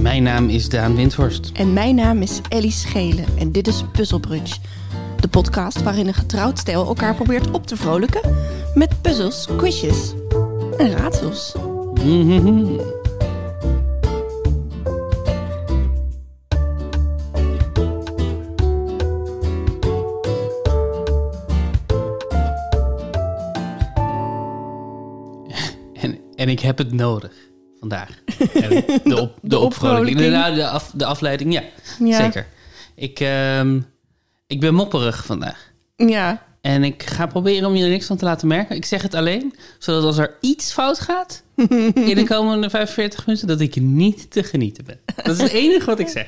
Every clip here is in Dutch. Mijn naam is Daan Windhorst. En mijn naam is Ellie Schelen en dit is Puzzelbrunch. De podcast waarin een getrouwd stijl elkaar probeert op te vrolijken met puzzels, quizjes en raadsels. Mhm. En, en ik heb het nodig vandaag. Ellie. De, op, de, opvrolijking. opvrolijking. Nou, de, af, de afleiding, ja, Ja. Zeker. Ik, ehm, ik ben mopperig vandaag. Ja, En ik ga proberen om je er niks van te laten merken. Ik zeg het alleen, zodat als er iets fout gaat in de komende 45 minuten, dat ik niet te genieten ben. Dat is het enige wat ik zeg.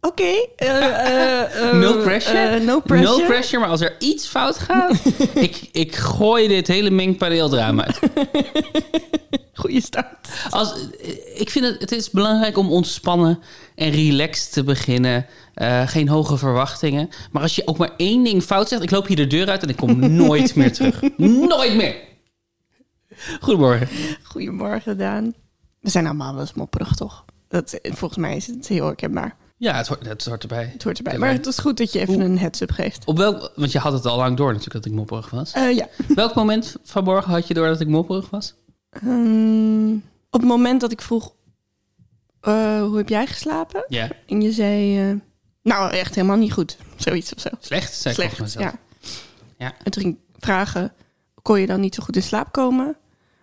oké. eh, eh, eh, No pressure. eh, no pressure. No pressure, maar als er iets fout gaat, ik, ik gooi dit hele mengpaneeldrama uit. Goeie start. Als, ik vind het, het is belangrijk om ontspannen en relaxed te beginnen. Eh, geen hoge verwachtingen. Maar als je ook maar één ding fout zegt, ik loop hier de deur uit en ik kom nooit meer terug. Nooit meer. Goedemorgen. Goedemorgen, Daan. We zijn allemaal wel eens mopperig, toch? Dat, volgens mij is het heel herkenbaar. Ja, het hoort, het hoort erbij. Het hoort erbij. Ja, Maar maar- het is goed dat je even een heads-up geeft. Op welk, want je had het al lang door natuurlijk dat ik mopperig was. Eh, ja. Welk moment vanmorgen had je door dat ik mopperig was? Ehm, op het moment dat ik vroeg, eh, hoe heb jij geslapen? Ja, En je zei, eh, nou echt helemaal niet goed. Zoiets of zo. slecht, zei ik Slecht, volgens mezelf. ja. Ja. En toen ging ik vragen, kon je dan niet zo goed in slaap komen?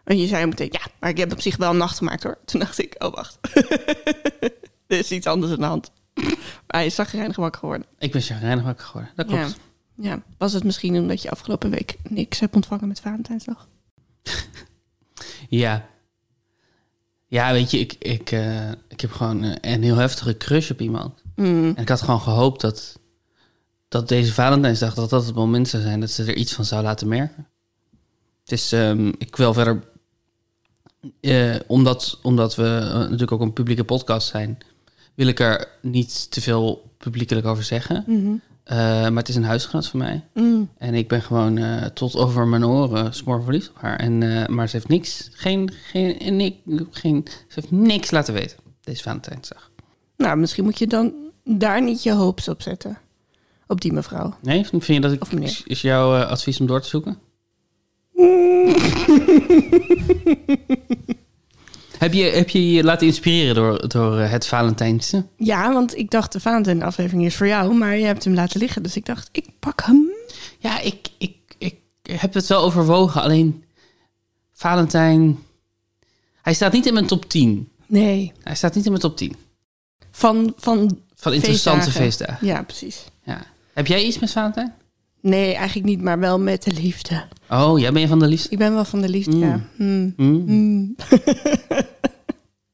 En je zei meteen, ja, maar ik heb op zich wel een nacht gemaakt hoor. Toen dacht ik, oh wacht. er is iets anders aan de hand. Maar hij is zagrijnig wakker geworden. Ik ben chagrijnig wakker geworden, dat klopt. Ja. ja. Was het misschien omdat je afgelopen week niks hebt ontvangen met Valentijnsdag? Ja. Ja, weet je, ik, ik, eh, ik heb gewoon eh, een heel heftige crush op iemand. Mm. En ik had gewoon gehoopt dat, dat deze Valentijnsdag dat dat het moment zou zijn dat ze er iets van zou laten merken. Het is, ehm, ik wil verder, eh, omdat, omdat we eh, natuurlijk ook een publieke podcast zijn, wil ik er niet te veel publiekelijk over zeggen. Mhm. Eh, maar het is een huisgenoot van mij. Mm. En ik ben gewoon eh, tot over mijn oren smoor verliefd op haar. En, eh, maar ze heeft niks, geen, geen, en ik- geen, ze heeft niks laten weten deze Valentijnsdag. Nou, misschien moet je dan daar niet je hoops op zetten. Op die mevrouw. Nee, vind je dat Of ik, meneer. is, is jouw eh, advies om door te zoeken? heb, je, heb je je laten inspireren door, door eh, het Valentijnse? Ja, want ik dacht de Valentijn aflevering is voor jou, maar je hebt hem laten liggen. Dus ik dacht, ik pak hem. Ja, ik, ik, ik heb het wel overwogen. Alleen Valentijn, hij staat niet in mijn top 10. Nee. Hij staat niet in mijn top 10 Van, van, van interessante Feestdagen. feestdagen. ja, precies. Ja. Heb jij iets met Valentijn? Nee, eigenlijk niet, maar wel met de liefde. Oh, jij bent van de liefste. Ik ben wel van de liefde, Mm. ja. Mm. Hm? Mm.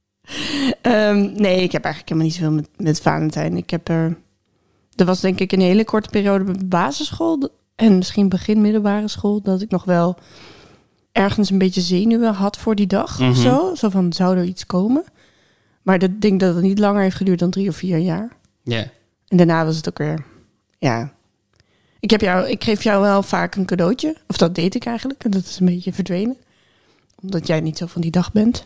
Ehm, nee, ik heb eigenlijk helemaal niet zoveel met, met Valentijn. Ik heb er... Er was denk ik een hele korte periode bij de basisschool... d- en misschien begin middelbare school... dat ik nog wel ergens een beetje zenuwen had voor die dag Mhm. of zo. Zo van, zou er iets komen? Maar dat ik denk dat het niet langer heeft geduurd dan drie of vier jaar. Ja. En daarna was het ook weer, ja. Ik, heb jou, ik geef jou wel vaak een cadeautje. Of dat deed ik eigenlijk. En dat is een beetje verdwenen. Omdat jij niet zo van die dag bent.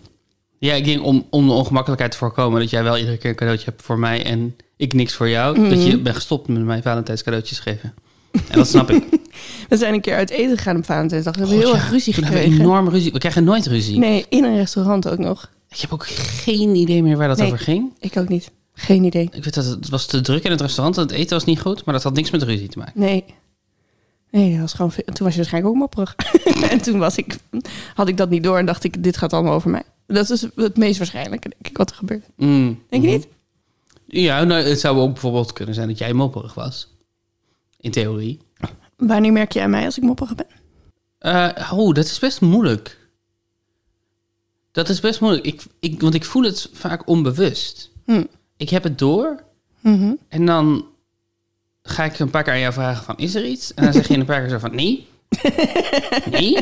Ja, ik denk om, om de ongemakkelijkheid te voorkomen dat jij wel iedere keer een cadeautje hebt voor mij en ik niks voor jou. Mhm. Dat je bent gestopt met mij Valentijns cadeautjes geven. En dat snap ik. We zijn een keer uit eten gegaan op Valentijnsdag. We hebben God, heel Oh, ja. erg ruzie Toen hebben gekregen. we enorm ruzie. We krijgen nooit ruzie. Nee, in een restaurant ook nog. Ik heb ook geen idee meer waar dat Nee. over ging. Ik ook niet. Geen idee. Ik weet dat het, het was te druk in het restaurant en het eten was niet goed, maar dat had niks met ruzie te maken. Nee. Nee, dat was gewoon veel- toen was je waarschijnlijk ook mopperig. en toen was ik, had ik dat niet door en dacht ik, dit gaat allemaal over mij. Dat is het meest waarschijnlijke, denk ik, wat er gebeurt. Mm. Denk je niet? Ja, nou, het zou ook bijvoorbeeld kunnen zijn dat jij mopperig was. In theorie. Wanneer merk je aan mij als ik mopperig ben? Eh, oh, dat is best moeilijk. Dat is best moeilijk. Ik, ik, want ik voel het vaak onbewust. Hm. Ik heb het door Mhm. en dan ga ik een paar keer aan jou vragen van, is er iets? En dan zeg je een paar keer zo van, nee. nee.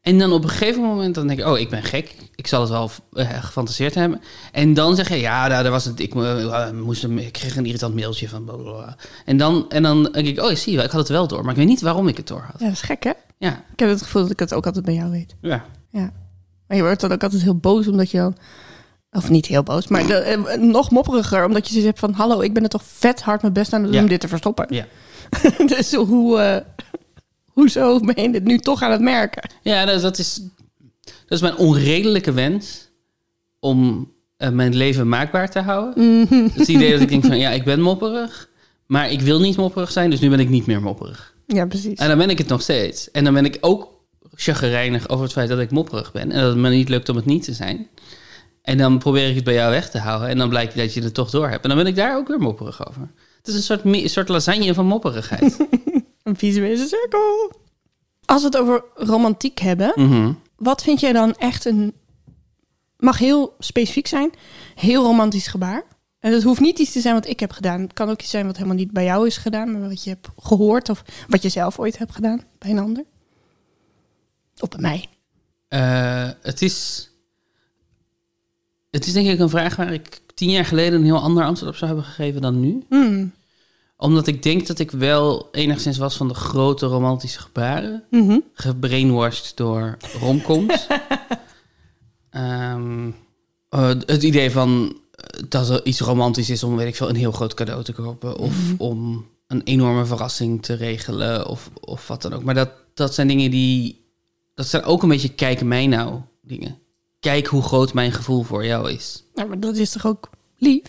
En dan op een gegeven moment dan denk ik, oh, ik ben gek. Ik zal het wel eh, gefantaseerd hebben. En dan zeg je, ja, daar, daar was het. Ik, eh, eh, moest hem, ik kreeg een irritant mailtje van blablabla. En dan, en dan denk ik, oh, zie je wel, ik had het wel door. Maar ik weet niet waarom ik het door had. Ja, dat is gek, hè? Ja, Ik heb het gevoel dat ik het ook altijd bij jou weet. ja. Ja. Maar je wordt dan ook altijd heel boos omdat je dan Of niet heel boos, maar de- eh, nog mopperiger. Omdat je zoiets hebt van... Hallo, ik ben er toch vet hard mijn best aan het doen Ja. om dit te verstoppen. Ja. dus hoe, eh, hoezo ben je dit nu toch aan het merken? Ja, dat, dat is, dat is mijn onredelijke wens om eh, mijn leven maakbaar te houden. Het idee dat ik denk van ja, ik ben mopperig, maar ik wil niet mopperig zijn, dus nu ben ik niet meer mopperig. Ja, precies. En dan ben ik het nog steeds. En dan ben ik ook chagrijnig over het feit dat ik mopperig ben en dat het me niet lukt om het niet te zijn. En dan probeer ik het bij jou weg te houden en dan blijkt dat je het toch door hebt. En dan ben ik daar ook weer mopperig over. Het is een soort, mi- een soort lasagne van mopperigheid. Een visuele cirkel. Als we het over romantiek hebben... Mhm. Wat vind jij dan echt een... Mag heel specifiek zijn. Heel romantisch gebaar. En het hoeft niet iets te zijn wat ik heb gedaan. Het kan ook iets zijn wat helemaal niet bij jou is gedaan. Maar wat je hebt gehoord. Of wat je zelf ooit hebt gedaan bij een ander. Of bij mij. Eh, het is. Het is denk ik een vraag waar ik tien jaar geleden een heel ander antwoord op zou hebben gegeven dan nu. Hmm. Omdat ik denk dat ik wel enigszins was van de grote romantische gebaren. Mhm. Gebrainwashed door romcoms. Ehm, eh, het idee van eh, dat er iets romantisch is om, weet ik veel, een heel groot cadeau te kopen. Of om een enorme verrassing te regelen. Of, of wat dan ook. Maar dat, dat zijn dingen die... Dat zijn ook een beetje kijk mij nou dingen. Kijk hoe groot mijn gevoel voor jou is. Nou, maar dat is toch ook lief?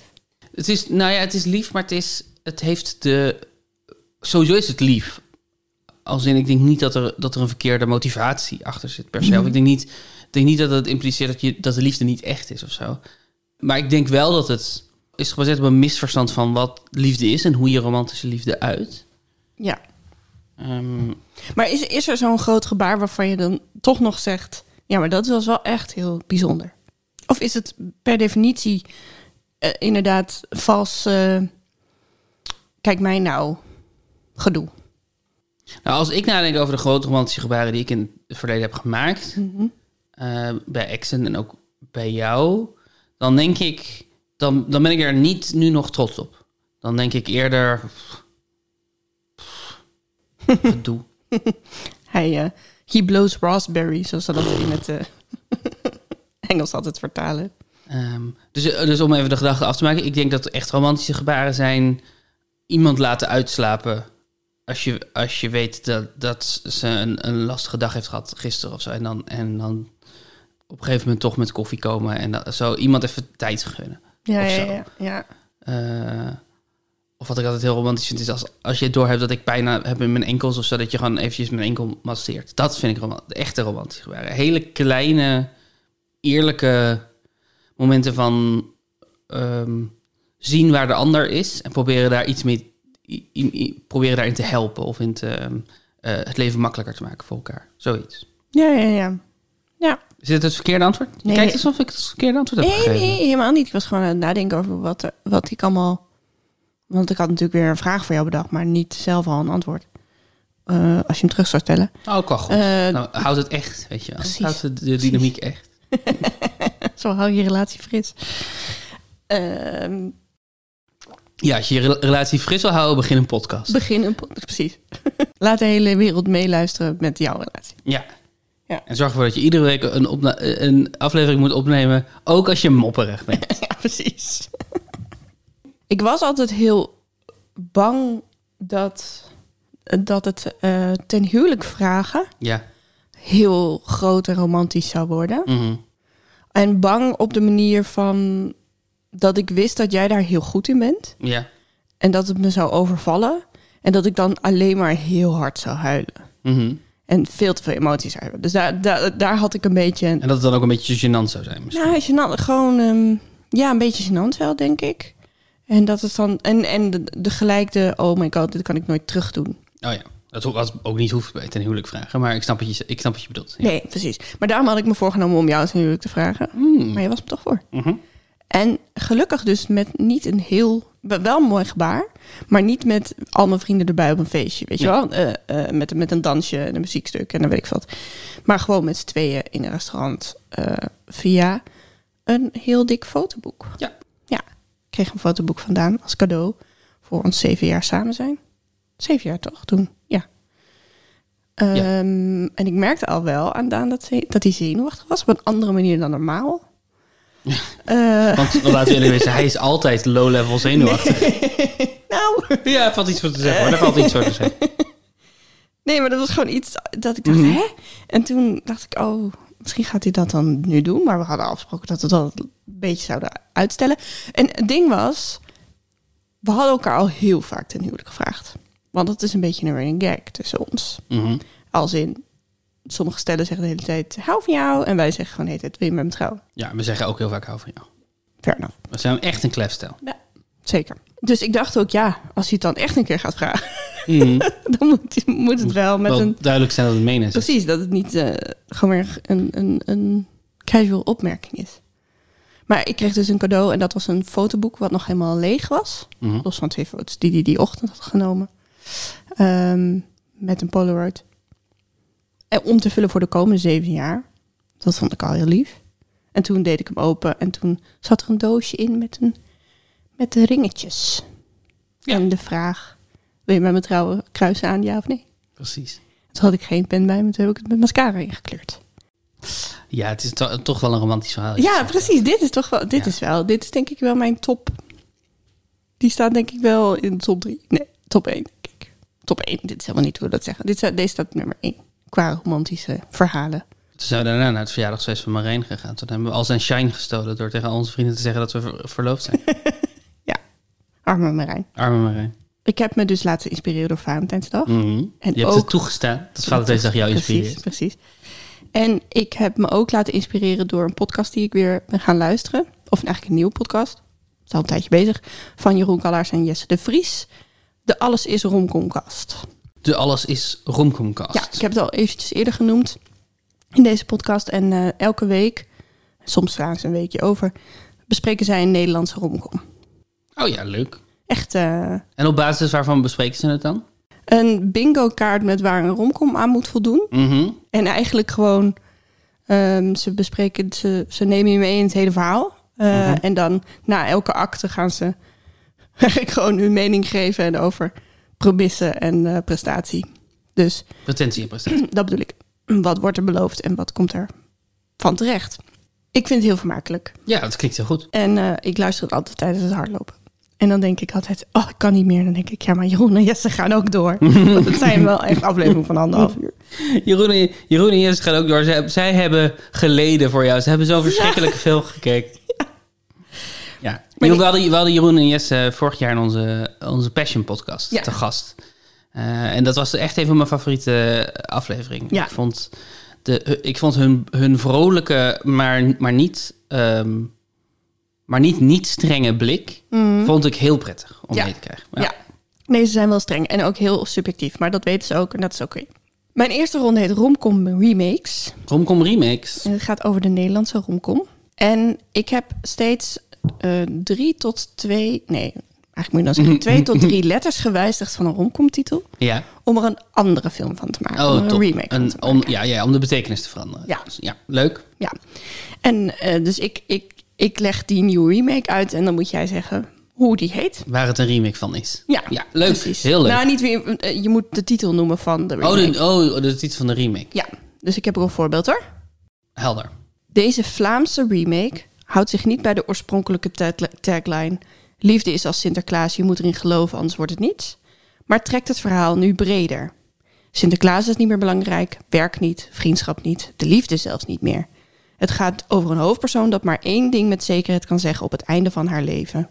Het is, nou ja, het is lief, maar het is, het heeft de, sowieso is het lief. Als in, ik denk niet dat er, dat er een verkeerde motivatie achter zit per se. Of Ik denk niet, ik denk niet dat het impliceert dat, je, dat de liefde niet echt is of zo. Maar ik denk wel dat het is gebaseerd op een misverstand van wat liefde is en hoe je romantische liefde uit. Ja. Ehm, Maar is, is er zo'n groot gebaar waarvan je dan toch nog zegt... Ja, maar dat was wel echt heel bijzonder. Of is het per definitie eh, inderdaad vals... eh, kijk mij nou gedoe. Nou, als ik nadenk over de grote romantische gebaren die ik in het verleden heb gemaakt, eh, bij exen en ook bij jou, dan denk ik, dan, dan ben ik er niet nu nog trots op. Dan denk ik eerder, pff, pff, gedoe. Hij, eh, he blows raspberry, zoals ze dat in het eh, Engels altijd vertalen. Ehm, dus, eh, dus om even de gedachte af te maken, ik denk dat echt romantische gebaren zijn iemand laten uitslapen. Als je, als je weet dat, dat ze een, een lastige dag heeft gehad gisteren of zo. En dan, en dan op een gegeven moment toch met koffie komen en dat, zo iemand even tijd gunnen. Ja, Of ja, zo. ja, ja. Eh, of wat ik altijd heel romantisch vind, is als, als je het doorhebt dat ik pijn aan- heb in mijn enkels of zo, dat je gewoon eventjes mijn enkel masseert. Dat vind ik roman de echte romantische gebaren. Hele kleine, eerlijke momenten van ehm, zien waar de ander is en proberen daar iets mee, i- i- i- proberen daarin te helpen of in te, ehm, eh, het leven makkelijker te maken voor elkaar. Zoiets. Ja, ja, ja. ja. Is dit het verkeerde antwoord? Je Nee. Kijkt alsof ik het verkeerde antwoord heb Nee, gegeven. nee, helemaal niet. Ik was gewoon aan het nadenken over wat, er- wat ik allemaal... Want ik had natuurlijk weer een vraag voor jou bedacht, maar niet zelf al een antwoord. Eh, als je hem terug zou stellen. Oh, kan goed. Eh, nou, houd het echt, weet je wel. Precies. Houd de, de dynamiek echt. Zo hou je je relatie fris. Ehm, Ja, als je je rela- relatie fris wil houden, begin een podcast. begin een podcast. Precies. Laat de hele wereld meeluisteren met jouw relatie. ja. Ja. En zorg ervoor dat je iedere week een, opna- eh, een aflevering moet opnemen, ook als je mopperig bent. Ja, precies. Ik was altijd heel bang dat, dat het eh, ten huwelijk vragen ja. heel groot en romantisch zou worden. Mhm. En bang op de manier van dat ik wist dat jij daar heel goed in bent. Ja. En dat het me zou overvallen. En dat ik dan alleen maar heel hard zou huilen. Mhm. En veel te veel emoties zou hebben. Dus daar, daar, daar had ik een beetje... En dat het dan ook een beetje gênant zou zijn misschien. Nou, gênant, gewoon... ehm, ja, een beetje gênant wel, denk ik. En dat is dan... En, en de, de gelijk de... Oh my god, dit kan ik nooit terug doen. Oh ja, dat ho- was ook niet hoeft bij ten huwelijk vragen, maar ik snap wat je, ik snap wat je bedoelt. Ja. Nee, precies. Maar daarom had ik me voorgenomen om jou het huwelijk te vragen. Mm. Maar je was me toch voor. Mhm. En gelukkig dus met niet een heel... Wel een mooi gebaar, maar niet met al mijn vrienden erbij op een feestje, weet je Ja. wel? Eh, eh, met, een- met een dansje en een muziekstuk en dan weet ik wat. Maar gewoon met z'n tweeën in een restaurant eh, via een heel dik fotoboek. Ja. Ja, ik kreeg een fotoboek vandaan als cadeau voor ons zeven jaar samen zijn. Zeven jaar toch, toen? Ja. Ehm, En ik merkte al wel aan Daan dat, ze, dat hij zenuwachtig was, op een andere manier dan normaal. Eh, Eh, Want laten we eerlijk wezen, hij is altijd low-level zenuwachtig. nou, Ja, er valt iets voor te zeggen hoor. Daar valt iets voor te zeggen. nee, maar dat was gewoon iets dat ik dacht, Mhm. hè? En toen dacht ik, oh, misschien gaat hij dat dan nu doen. Maar we hadden afgesproken dat we dat een beetje zouden uitstellen. En het ding was, we hadden elkaar al heel vaak ten huwelijk gevraagd. Want dat is een beetje een running gag tussen ons. Mhm. Als in, sommige stellen zeggen de hele tijd, hou van jou. En wij zeggen gewoon de hele tijd, wil je met me trouwen? Ja, we zeggen ook heel vaak hou van jou. Fair enough. We zijn echt een klefstel. Ja, zeker. Dus ik dacht ook, ja, als hij het dan echt een keer gaat vragen, Mhm. dan moet, moet het wel met Wel een... duidelijk zijn dat het menen is. Precies, dat het niet eh, gewoon weer een, een, een casual opmerking is. Maar ik kreeg dus een cadeau en dat was een fotoboek wat nog helemaal leeg was. Mhm. Los van twee foto's die hij die ochtend had genomen. Ehm, met een Polaroid. En om te vullen voor de komende zeven jaar. Dat vond ik al heel lief. En toen deed ik hem open en toen zat er een doosje in met, een, met de ringetjes. Ja. En de vraag, wil je met me trouwen, kruisen aan, ja of nee? Precies. Toen had ik geen pen bij me, toen heb ik het met mascara ingekleurd. Ja, het is to- toch wel een romantisch verhaal. Ja, precies. Dit is toch wel, dit Ja. is wel, dit is denk ik wel mijn top. Die staat denk ik wel in de top 3. Nee, top 1 denk ik. Top 1, dit is helemaal niet hoe we dat zeggen. Dit staat, deze staat op nummer 1 qua romantische verhalen. Toen zijn we daarna naar het verjaardagsfeest van Marijn gegaan. Toen hebben we al zijn shine gestolen door tegen al onze vrienden te zeggen dat we ver- verloofd zijn. Ja, arme Marijn. Arme Marijn. Ik heb me dus laten inspireren door Valentijnsdag. Mhm. En je hebt ook- het toegestaan dat Valentijnsdag jou Precies, inspireert. precies. En ik heb me ook laten inspireren door een podcast die ik weer ben gaan luisteren. Of eigenlijk een nieuwe podcast. Het is al een tijdje bezig. Van Jeroen Kallaars en Jesse de Vries. De Alles is Romcomcast. De Alles is Romcomcast. Ja, ik heb het al eventjes eerder genoemd in deze podcast. En eh, elke week, soms slaan ze een weekje over, bespreken zij een Nederlandse romcom. Oh ja, leuk. Echt eh, En op basis waarvan bespreken ze het dan? een bingo kaart met waar een romcom aan moet voldoen. Mhm. En eigenlijk gewoon, ehm, ze bespreken, ze, ze nemen je mee in het hele verhaal. Eh, Mhm. En dan na elke acte gaan ze eigenlijk gewoon hun mening geven en over premissen en eh, prestatie. Dus Pretentie en prestatie. dat bedoel ik. Wat wordt er beloofd en wat komt er van terecht? Ik vind het heel vermakelijk. Ja, dat klinkt heel goed. En eh, ik luister het altijd tijdens het hardlopen. En dan denk ik altijd, oh, ik kan niet meer. Dan denk ik, ja, maar Jeroen en Jesse gaan ook door. Want het zijn wel echt afleveringen van anderhalf uur. Jeroen en, Jeroen en Jesse gaan ook door. Zij, zij hebben geleden voor jou. Ze hebben zo'n verschrikkelijke film gekeken. Ja. Maar die- We, hadden, we hadden Jeroen en Jesse eh, vorig jaar in onze, onze Passion podcast Ja. te gast. Eh, en dat was echt een van mijn favoriete afleveringen. Ja. Ik vond, de, ik vond hun, hun vrolijke, maar, maar, niet, ehm, maar niet, niet strenge blik... vond ik heel prettig om Mhm. Ja. mee te krijgen. Ja. Nee, ze zijn wel streng en ook heel subjectief. Maar dat weten ze ook en dat is oké. Mijn eerste ronde heet Romcom Remakes. Romcom remakes. En het gaat over de Nederlandse romcom. En ik heb steeds eh, drie tot twee... Nee, eigenlijk moet je dan zeggen twee tot drie letters gewijzigd van een romcomtitel. Ja. om er een andere film van te maken. om Oh, er top. een remake van Een- te om, ja, ja, om de betekenis te veranderen. Ja. Dus ja leuk. maken. Ja. En eh, dus ik, ik, ik leg die nieuwe remake uit en dan moet jij zeggen hoe die heet. Waar het een remake van is. Ja, ja leuk. precies. Heel leuk. Nou, niet wie, eh, je moet de titel noemen van de remake. oh, de, oh, dat is iets van de remake. Ja, dus ik heb er een voorbeeld hoor. Helder. Deze Vlaamse remake houdt zich niet bij de oorspronkelijke tagli- tagline... Liefde is als Sinterklaas, je moet erin geloven, anders wordt het niets. Maar trekt het verhaal nu breder. Sinterklaas is niet meer belangrijk, werk niet, vriendschap niet, de liefde zelfs niet meer. Het gaat over een hoofdpersoon dat maar één ding met zekerheid kan zeggen op het einde van haar leven.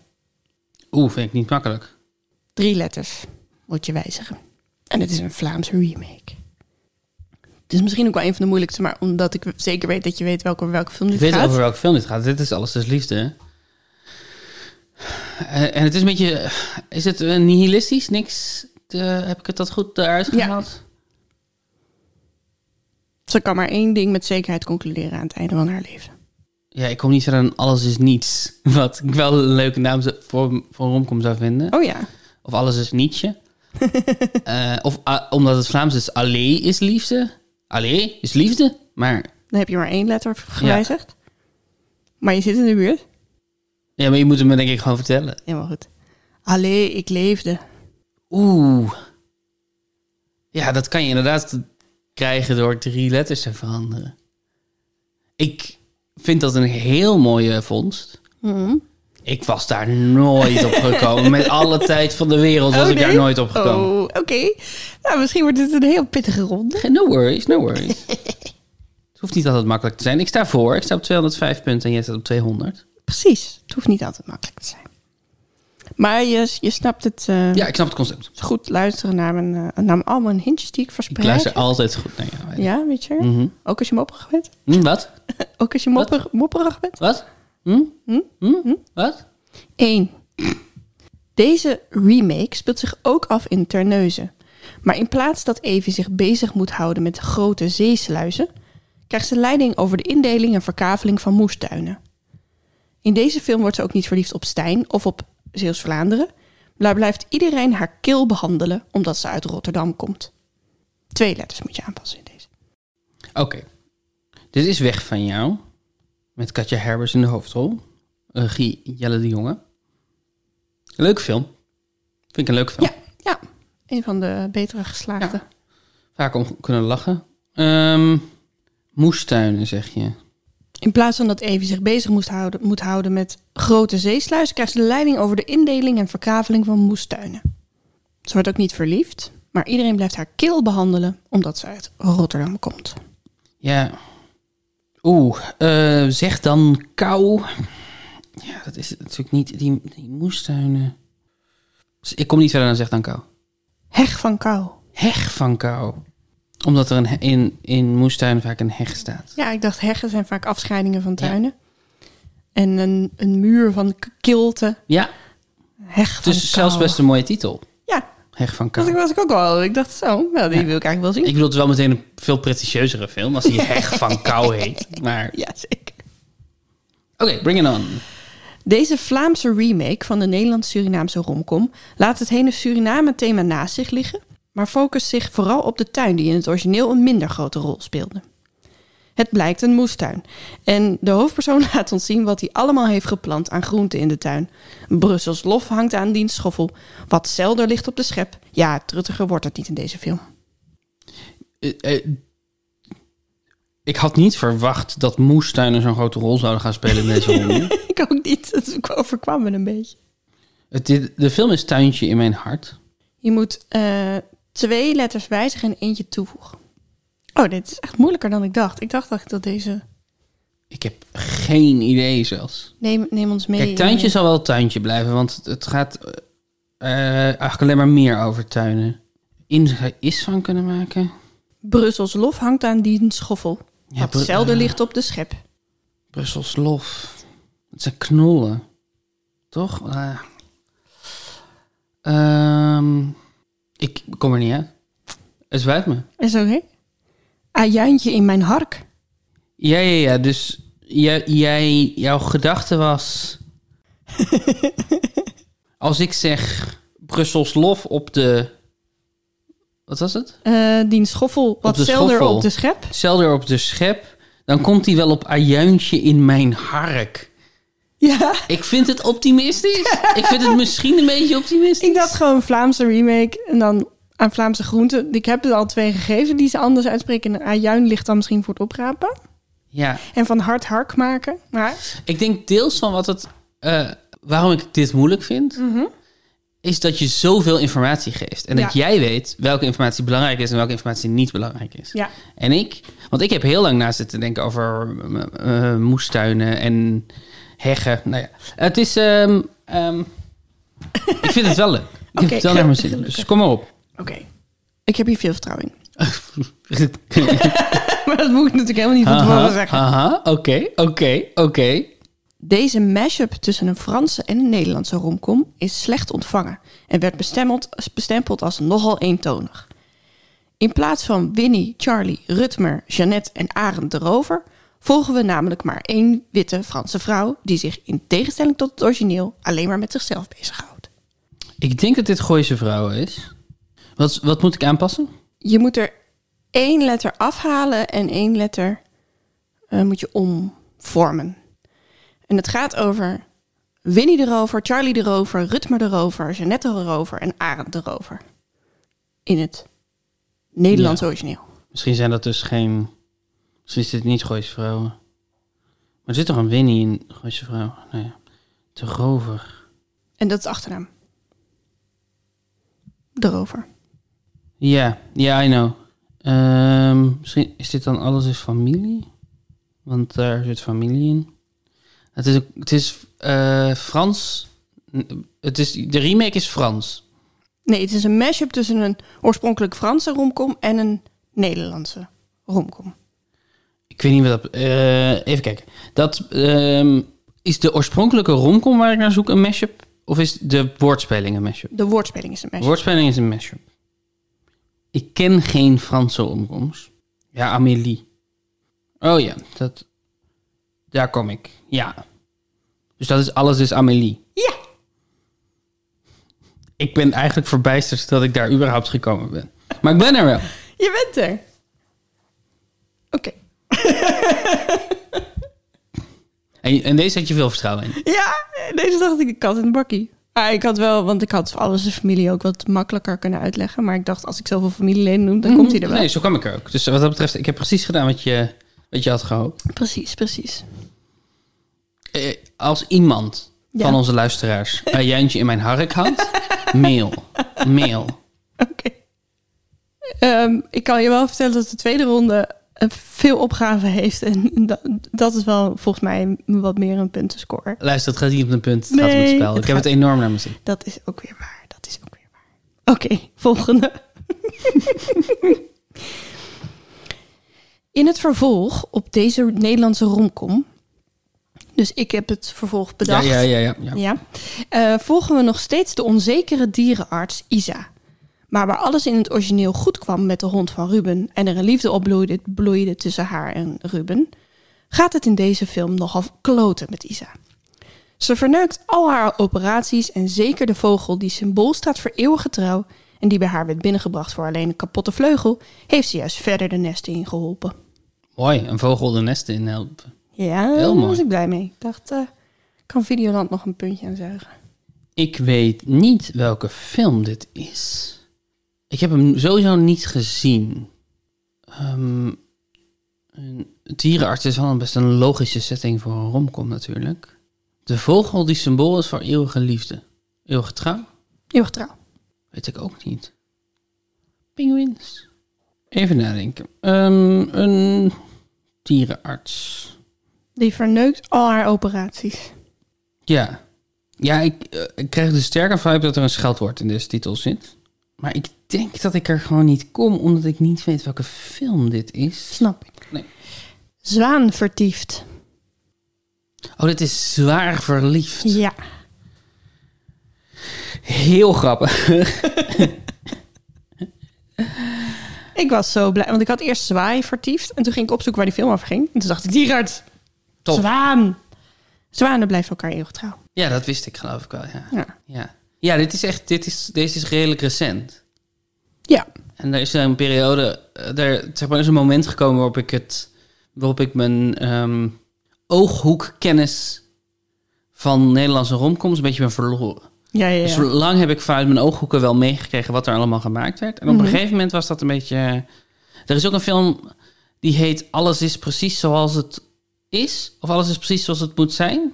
Oeh, vind ik niet makkelijk. Drie letters moet je wijzigen. En het is een Vlaamse remake. Het is misschien ook wel een van de moeilijkste, maar omdat ik zeker weet dat je weet welke, welke film dit ik weet gaat. over welke film dit gaat. Dit is alles dus liefde. hè? Eh, En het is een beetje... Is het eh, nihilistisch? Niks? te- heb ik het dat goed eruit Ja. gehaald? Ze kan maar één ding met zekerheid concluderen aan het einde van haar leven. Ja. ik kom niet verder dan Alles is Niets. Wat ik wel een leuke naam zou- voor, voor een romcom zou vinden. Oh ja. Of alles is nietje. Eh, of ah, omdat het Vlaams is, allee is liefde. Allee is liefde. Maar, Dan heb je maar één letter gewijzigd. Maar je zit in de buurt. ja, maar je moet het me denk ik gewoon vertellen. Helemaal goed. Allee, ik leefde. Oeh. Ja, dat kan je inderdaad krijgen door drie letters te veranderen. Ik vind dat een heel mooie vondst. Mhm. Ik was daar nooit op gekomen. Met alle tijd van de wereld was Oh, ik daar nee? nooit op gekomen. Oh, oké. Nou, misschien wordt dit een heel pittige ronde. Geen- No worries, no worries. het hoeft niet altijd makkelijk te zijn. Ik sta voor. Ik sta op 205 punten en jij staat op 200. Precies. Het hoeft niet altijd makkelijk te zijn. Maar je, je snapt het. eh, Ja, ik snap het concept. is goed luisteren naar, mijn, eh, naar al mijn hintjes die ik Ik verspreid. luister altijd goed naar jou. Ja, weet je? Mhm. Ook als je mopperig bent. Hm, wat? Ook als je mopper, mopperig bent. Wat? Hm? Hm? Hm? Wat? 1. Deze remake speelt zich ook af in Terneuzen. Maar in plaats dat Evie zich bezig moet houden met grote zeesluizen, krijgt ze leiding over de indeling en verkaveling van moestuinen. In deze film wordt ze ook niet verliefd op Stijn of op Zeeuws-Vlaanderen, maar blijft iedereen haar kil behandelen omdat ze uit Rotterdam komt. Twee letters moet je aanpassen in deze. Oké. Dit is Weg van jou. Met Katja Herbers in de hoofdrol. Regie Jelle de Jonge. Leuke film. Vind ik een leuke film. Ja, ja. Een van de betere geslaagde. Vaak om kunnen lachen. Ehm, moestuinen, zeg je. In plaats van dat Evie zich bezig moest houden, moet houden met grote zeesluizen, krijgt ze de leiding over de indeling en verkaveling van moestuinen. Ze wordt ook niet verliefd, maar iedereen blijft haar kil behandelen omdat ze uit Rotterdam komt. Ja. Oeh, eh, zeg dan kou. Ja, dat is het natuurlijk niet. Die, die moestuinen. Dus Ik kom niet verder dan zeg dan kou. Heg van kou. Heg van kou. Omdat er een, he- in, in moestuinen vaak een heg staat. Ja, ik dacht heggen zijn vaak afscheidingen van tuinen. En een, een muur van k- kilte. Ja, Heg van dus kou. zelfs best een mooie titel. Ja, Heg van dat kou. was ik ook al. Ik dacht zo, wel, die Ja. wil ik eigenlijk wel zien. Ik bedoel, het is wel meteen een veel pretentieuzere film als die Heg van kou heet. Maar oké, Ja, zeker. bring it on. Deze Vlaamse remake van de Nederlands-Surinaamse romcom laat het hele Suriname-thema naast zich liggen, maar focust zich vooral op de tuin die in het origineel een minder grote rol speelde. Het blijkt een moestuin en de hoofdpersoon laat ons zien wat hij allemaal heeft geplant aan groenten in de tuin. Brussels lof hangt aan diens schoffel, wat zelder ligt op de schep. Ja, truttiger wordt het niet in deze film. Eh, eh, ik had niet verwacht dat moestuinen zo'n grote rol zouden gaan spelen in deze film. Ik ook niet, het overkwam me een beetje. Het, dit- de film is Tuintje in mijn hart. Je moet eh, twee letters wijzigen en eentje toevoegen. Oh, dit is echt moeilijker dan ik dacht. Ik dacht dat ik dat deze... Ik heb geen idee zelfs. Neem, neem ons mee. Kijk, Tuintje zal wel Tuintje blijven, want het- het gaat eh, eigenlijk alleen maar meer over tuinen. In zou je is van kunnen maken. eh, Brussels lof hangt aan die schoffel. Ja, wat Bru- zelden eh. ligt op de schep. Brussels lof. Het zijn knollen. Toch? Ah. Ehm, ik kom er niet uit. Het spijt me. Is oké? Ajuintje Ah, in mijn hark. Ja, ja, ja. Dus jij, jij, jouw gedachte was. als ik zeg Brussels lof op de. Wat was het? Eh die schoffel wat de zelder schoffel. op de schep. Zelder op de schep. Dan komt hij wel op ajuintje in mijn hark. Ja, Ik vind het optimistisch. ik vind het misschien een beetje optimistisch. ik dacht gewoon Vlaamse remake en dan aan Vlaamse groenten. Ik heb er al twee gegeven die ze anders uitspreken. En ajuin ligt dan misschien voor het oprapen. Ja, En van hard hark maken. Maar ik denk deels van wat het. eh, waarom ik dit moeilijk vind. Mhm. Is dat je zoveel informatie geeft. En dat Ja. jij weet welke informatie belangrijk is en welke informatie niet belangrijk is. ja, En ik, want ik heb heel lang na zitten denken over eh, eh, moestuinen en heggen. Nou ja, het is. ehm, ehm, ik vind het wel leuk. Ik heb Oké, het wel naar mijn zin. gelukkig. Dus kom maar op. oké. Ik heb hier veel vertrouwen in. Haha, Maar dat moet ik natuurlijk helemaal niet van tevoren zeggen. haha, Oké, oké, oké. Deze mashup tussen een Franse en een Nederlandse romcom is slecht ontvangen en werd bestemmeld- bestempeld als nogal eentonig. In plaats van Winnie, Charlie, Rutmer, Jeannette en Arend de Rover volgen we namelijk maar één witte Franse vrouw die zich in tegenstelling tot het origineel alleen maar met zichzelf bezighoudt. Ik denk dat dit Gooise vrouwen is. Wat, wat moet ik aanpassen? Je moet er één letter afhalen en één letter eh, moet je omvormen. En het gaat over Winnie de Rover, Charlie de Rover, Rutmer de Rover, Jeannette de Rover en Arend de Rover. In het Nederlands origineel. Misschien zijn dat dus geen. Misschien is dit niet Gooise vrouwen. Maar er zit toch een Winnie in Gooise vrouwen? Nou ja. De rover. En dat is achternaam. De rover. Ja, ja, I know. Ehm, misschien is dit dan alles is familie? Want daar zit familie in. Het is, ook- het is eh, Frans. N- Het is, de remake is Frans. Nee, het is een mashup tussen een oorspronkelijk Franse romcom en een Nederlandse romcom. Ik weet niet wat dat... eh, even kijken. Dat, ehm, is de oorspronkelijke romcom waar ik naar zoek een mashup? Of is de woordspeling een mashup? De woordspeling is een mashup. Woordspeling is een mashup. Ik ken geen Franse omkomst. Ja, Amélie. Oh ja, dat... Daar kom ik. Ja. Dus dat is alles is Amélie. Ja, Ik ben eigenlijk verbijsterd dat ik daar überhaupt gekomen ben. Maar ik ben er wel. je bent er. Oké. En, en deze had je veel vertrouwen in. Ja, deze dacht ik, ik kat in de bakkie. Ah, ik had wel, want ik had voor alles de familie ook wat makkelijker kunnen uitleggen. Maar ik dacht, als ik zoveel familieleden noem, dan komt hij er wel. Nee, zo kwam ik er ook. Dus wat dat betreft, ik heb precies gedaan wat je, wat je had gehoopt. Precies, precies. Eh, als iemand Ja. van onze luisteraars een juintje in mijn hark had, mail. Mail. Oké. Ehm, ik kan je wel vertellen dat de tweede ronde eh, veel opgaven heeft. En dat, dat is wel volgens mij wat meer een puntenscore. Luister, het gaat niet om een punt. Het gaat om het Nee, spel. het ik heb gaat- het enorm naar mijn zin. Dat is ook weer waar. Dat is ook weer waar. Oké, volgende. In het vervolg op deze Nederlandse romcom. Dus ik heb het vervolg bedacht. Ja, ja, ja. ja, ja. Ja. Eh, volgen we nog steeds de onzekere dierenarts Isa. Maar waar alles in het origineel goed kwam met de hond van Ruben en er een liefde opbloeide bloeide tussen haar en Ruben, gaat het in deze film nogal kloten met Isa. Ze verneukt al haar operaties en zeker de vogel die symbool staat voor eeuwige trouw en die bij haar werd binnengebracht voor alleen een kapotte vleugel, heeft ze juist verder de nesten ingeholpen. Mooi, een vogel de nesten in helpen. Ja, Heel daar mooi. was ik blij mee. Ik dacht, eh, kan Videoland nog een puntje aan zuigen? Ik weet niet welke film dit is. Ik heb hem sowieso niet gezien. Ehm, een dierenarts is wel een best een logische setting voor een romcom natuurlijk. De vogel die symbool is voor eeuwige liefde. Eeuwige trouw? Eeuwig trouw. Weet ik ook niet. Pinguïns. Even nadenken. Ehm, een dierenarts. Die verneukt al haar operaties. Ja. Ja, ik, eh, ik krijg de sterke vibe dat er een scheldwoord in deze titel zit. Maar ik denk dat ik er gewoon niet kom, omdat ik niet weet welke film dit is. Snap ik. Nee. Zwaan vertiefd. Oh, dit is zwaar verliefd. Ja. Heel grappig. Ik was zo blij, want ik had eerst zwaai vertiefd. En toen ging ik opzoeken waar die film over ging. En toen dacht ik, dierarts. Top. Zwaan. Zwanen blijven elkaar eeuwig trouw. Ja, dat wist ik geloof ik wel, ja. Ja. Ja, ja dit is echt, dit is, deze is redelijk recent. Ja. En er is een periode, eh, er zeg maar, er is een moment gekomen waarop ik het, waarop ik mijn ehm, ooghoekkennis van Nederlandse romcoms een beetje ben verloren. Ja, ja, Dus ja. lang heb ik vanuit mijn ooghoeken wel meegekregen wat er allemaal gemaakt werd. En op Mhm. een gegeven moment was dat een beetje. Er is ook een film die heet Alles is precies zoals het is. Of Alles is precies zoals het moet zijn.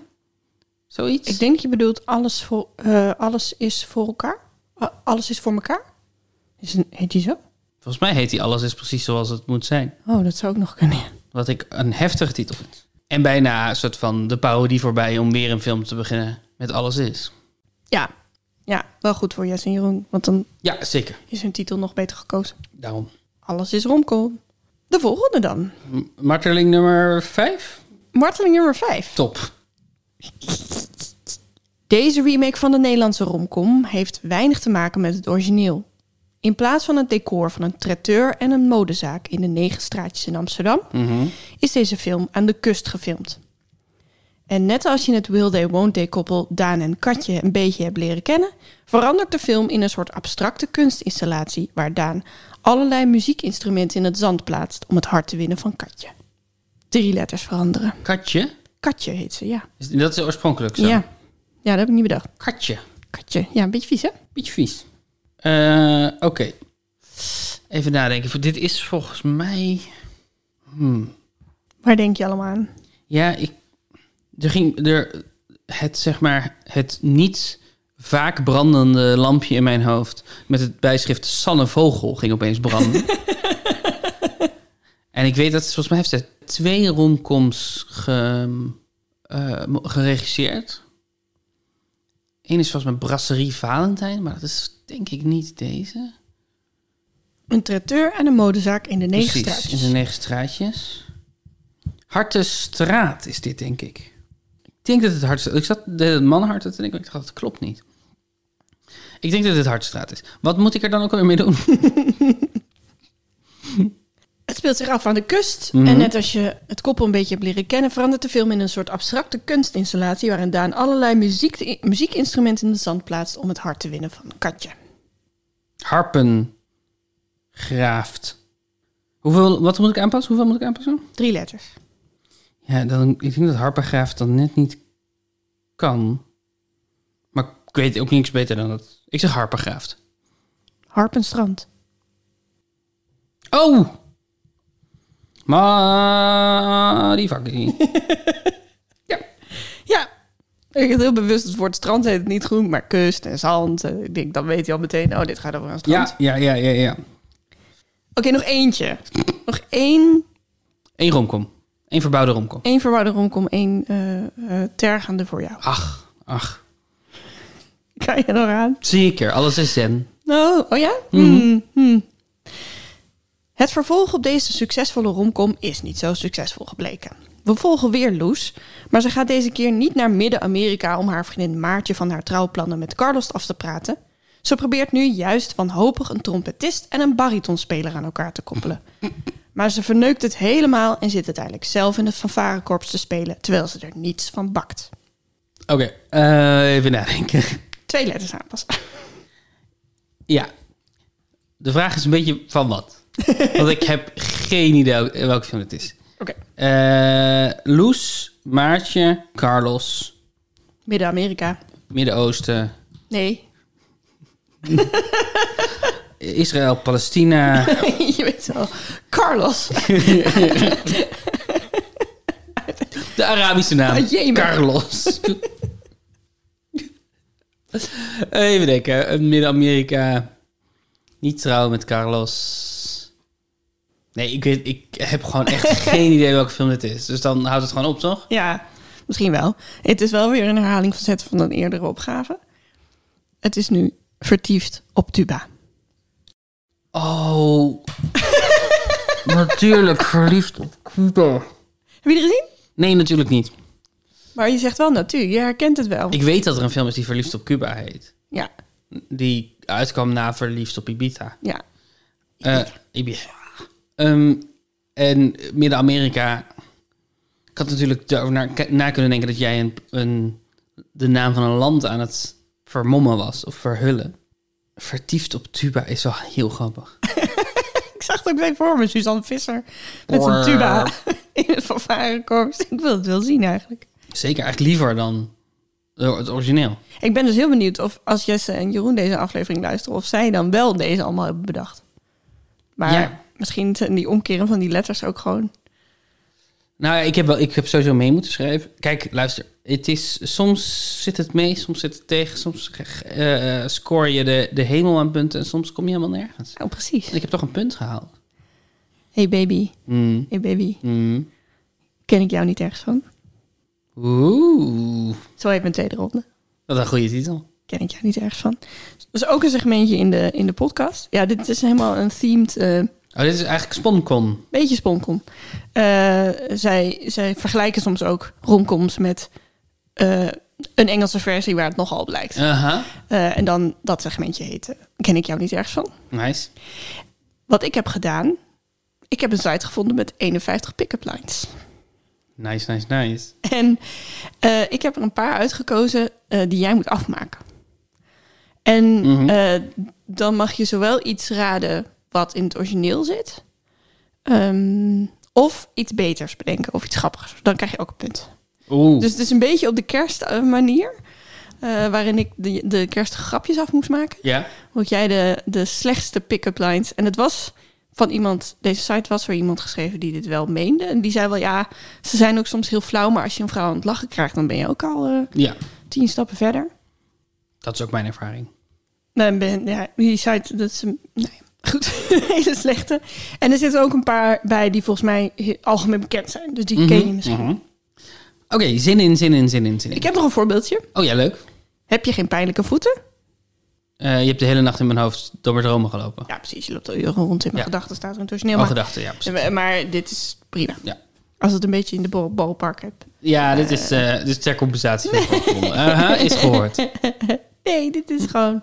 Zoiets. Ik denk je bedoelt alles, voor, eh, alles is voor elkaar. A- alles is voor elkaar. Is een, heet die zo? Volgens mij heet die Alles is precies zoals het moet zijn. Oh, dat zou ook nog kunnen. ja. Wat ik een heftige titel vind. En bijna een soort van de parodie voorbij om weer een film te beginnen met Alles is. Ja. Ja, wel goed voor Jess en Jeroen. Want dan Ja, zeker. is hun titel nog beter gekozen. Daarom. Alles is romcom. De volgende dan. M- Marteling nummer 5. Marteling nummer 5. Top. Deze remake van de Nederlandse romcom heeft weinig te maken met het origineel. In plaats van het decor van een traiteur en een modezaak in de negen straatjes in Amsterdam, is deze film aan de kust gefilmd. En net als je het Will Day Won't Day koppel Daan en Katje een beetje hebt leren kennen, verandert de film in een soort abstracte kunstinstallatie waar Daan allerlei muziekinstrumenten in het zand plaatst om het hart te winnen van Katje. Drie letters veranderen. Katje. Katje heet ze, ja. Is- Dat is oorspronkelijk zo. Ja. ja, dat heb ik niet bedacht. Katje. Katje. Ja, een beetje vies, hè? Beetje vies. Eh, Oké. Even nadenken. Dit is volgens mij. Waar denk je allemaal aan? Ja, ik. Er ging. Er, het, zeg maar, het niet vaak brandende lampje in mijn hoofd met het bijschrift Sanne Vogel ging opeens branden. en ik weet dat, ze- volgens mij heeft ze twee romcoms ge- eh, mo- geregisseerd. Eén is volgens mij Brasserie Valentijn, maar dat is denk ik niet deze. Een traiteur en een modezaak in de Precies, in de Negenstraatjes. negen straatjes. Hartenstraat is dit, denk ik. Ik denk dat het Hartenstraat... Ik zat de mannenhart te denken, maar ik dacht, dat klopt niet. Ik denk dat het Hartenstraat is. Wat moet ik er dan ook weer mee doen? Het speelt zich af aan de kust. Mhm. En net als je het koppel een beetje hebt leren kennen, verandert de film in een soort abstracte kunstinstallatie. waarin Daan allerlei muziek, muziekinstrumenten in de zand plaatst om het hart te winnen van Katje. Harpen. Graaft. Hoeveel, wat moet ik aanpassen? Hoeveel moet ik aanpassen? Drie letters. Ja, dan, ik denk dat harpengraaft dan net niet kan. Maar ik weet ook niks beter dan dat. Ik zeg harpengraaft. Harpenstrand. Oh! Maar die fucking. Ja, ik had heel bewust het woord strand heet het niet groen, maar kust en zand. Eh, Ik denk, dan weet hij al meteen, oh, dit gaat over een strand. Ja, ja, ja, ja, ja. Oké, nog eentje. Nog één, Eén romkom. Eén verbouwde romkom. één verwarde romkom, één eh eh, tergende voor jou. Ach, ach. Kan je nog aan? Zeker, alles is zen. Nou, oh ja? Hmm, hmm. Het vervolg op deze succesvolle romcom is niet zo succesvol gebleken. We volgen weer Loes, maar ze gaat deze keer niet naar Midden-Amerika om haar vriendin Maartje van haar trouwplannen met Carlos af te praten. Ze probeert nu juist wanhopig een trompetist en een baritonspeler aan elkaar te koppelen. Maar ze verneukt het helemaal en zit uiteindelijk zelf in het fanfarekorps te spelen, terwijl ze er niets van bakt. Oké, eh, even nadenken. Twee letters aanpassen. Ja. De vraag is een beetje van wat? Want ik heb geen idee welk- welke film het is. Oké, Eh Loes, Maartje, Carlos, Midden-Amerika. Midden-Oosten, Nee, Israël, Palestina. je weet wel. Carlos. De Arabische naam. Ah, jemen. Carlos. Even denken. Eh, Midden-Amerika. Niet trouwen met Carlos. Nee, ik, weet, ik heb gewoon echt geen idee welke film dit is. Dus dan houdt het gewoon op, toch? Ja, misschien wel. Het is wel weer een herhaling van zet van een eerdere opgave. Het is nu vertiefd op tuba. Oh. natuurlijk, verliefd op Cuba. Heb je die gezien? Nee, natuurlijk niet. Maar je zegt wel natuur. Je herkent het wel. Ik weet dat er een film is die Verliefd op Cuba heet. Ja, Die uitkwam na Verliefd op Ibiza. ja. Eh, Ibiza. Ehm, en Midden-Amerika. Ik had natuurlijk erover na, na kunnen denken dat jij een, een, de naam van een land aan het vermommen was of verhullen. Vertiefd op tuba is wel heel grappig. Ik zag het ook bij voor me. Suzanne Visser met een tuba in het fanfarekorps. Ik wil het wel zien eigenlijk. Zeker eigenlijk liever dan het origineel. Ik ben dus heel benieuwd of als Jesse en Jeroen deze aflevering luisteren... of zij dan wel deze allemaal hebben bedacht. Maar Ja. misschien zijn die omkeren van die letters ook gewoon... Nou ja, ik heb, wel, ik heb sowieso mee moeten schrijven. Kijk, luister. Het is, soms zit het mee, soms zit het tegen. Soms eh, eh, score je de, de hemel aan punten en soms kom je helemaal nergens. Oh, precies. En ik heb toch een punt gehaald. Hey baby, Mm. hey baby. Mm. Ken ik jou niet ergens van? Oeh, Zo heet mijn tweede ronde. wat een goede titel. Ken ik jou niet ergens van? Dus ook een segmentje in de, in de podcast. Ja, dit is helemaal een themed, eh, Oh, dit is eigenlijk Sponcon. beetje sponkom. Eh, zij, zij vergelijken soms ook romcoms met eh, een Engelse versie waar het nogal op lijkt. Aha, Eh, en dan dat segmentje heet eh, Ken ik jou niet ergens van? nice. Wat ik heb gedaan, ik heb een site gevonden met 51 pick-up lines. Nice, nice, nice. En eh, ik heb er een paar uitgekozen eh, die jij moet afmaken. En eh, dan mag je zowel iets raden wat in het origineel zit, ehm, of iets beters bedenken of iets grappigers. Dan krijg je ook een punt. Oeh, Dus het is een beetje op de kerstmanier, eh, waarin ik de, de kerstgrapjes af moest maken. ja. Moet jij de, de slechtste pick-up lines. En het was van iemand, deze site was voor iemand geschreven die dit wel meende. En die zei wel, ja, ze zijn ook soms heel flauw, maar als je een vrouw aan het lachen krijgt, dan ben je ook al eh, Ja, tien stappen verder. dat is ook mijn ervaring. Nou, ben, ja, die site, dat is een, nee, goed, een hele slechte. En er zitten ook een paar bij die volgens mij he- algemeen bekend zijn. Dus die ken je Mhm, misschien. mhm. Oké, zin in, zin in, zin in, zin in. Ik heb nog een voorbeeldje. Oh ja, leuk. Heb je geen pijnlijke voeten? Eh, je hebt de hele nacht in mijn hoofd door mijn dromen gelopen. Ja, precies. Je loopt al uren rond in mijn Ja. gedachten, staat er intussen. Nee, Al maar, gedachten, ja. precies. maar dit is prima. Ja. Als het een beetje in de bal- balpark hebt. Ja, dit is, eh, dit is ter compensatie van Pokémon. Aha, is gehoord. Nee, dit is gewoon...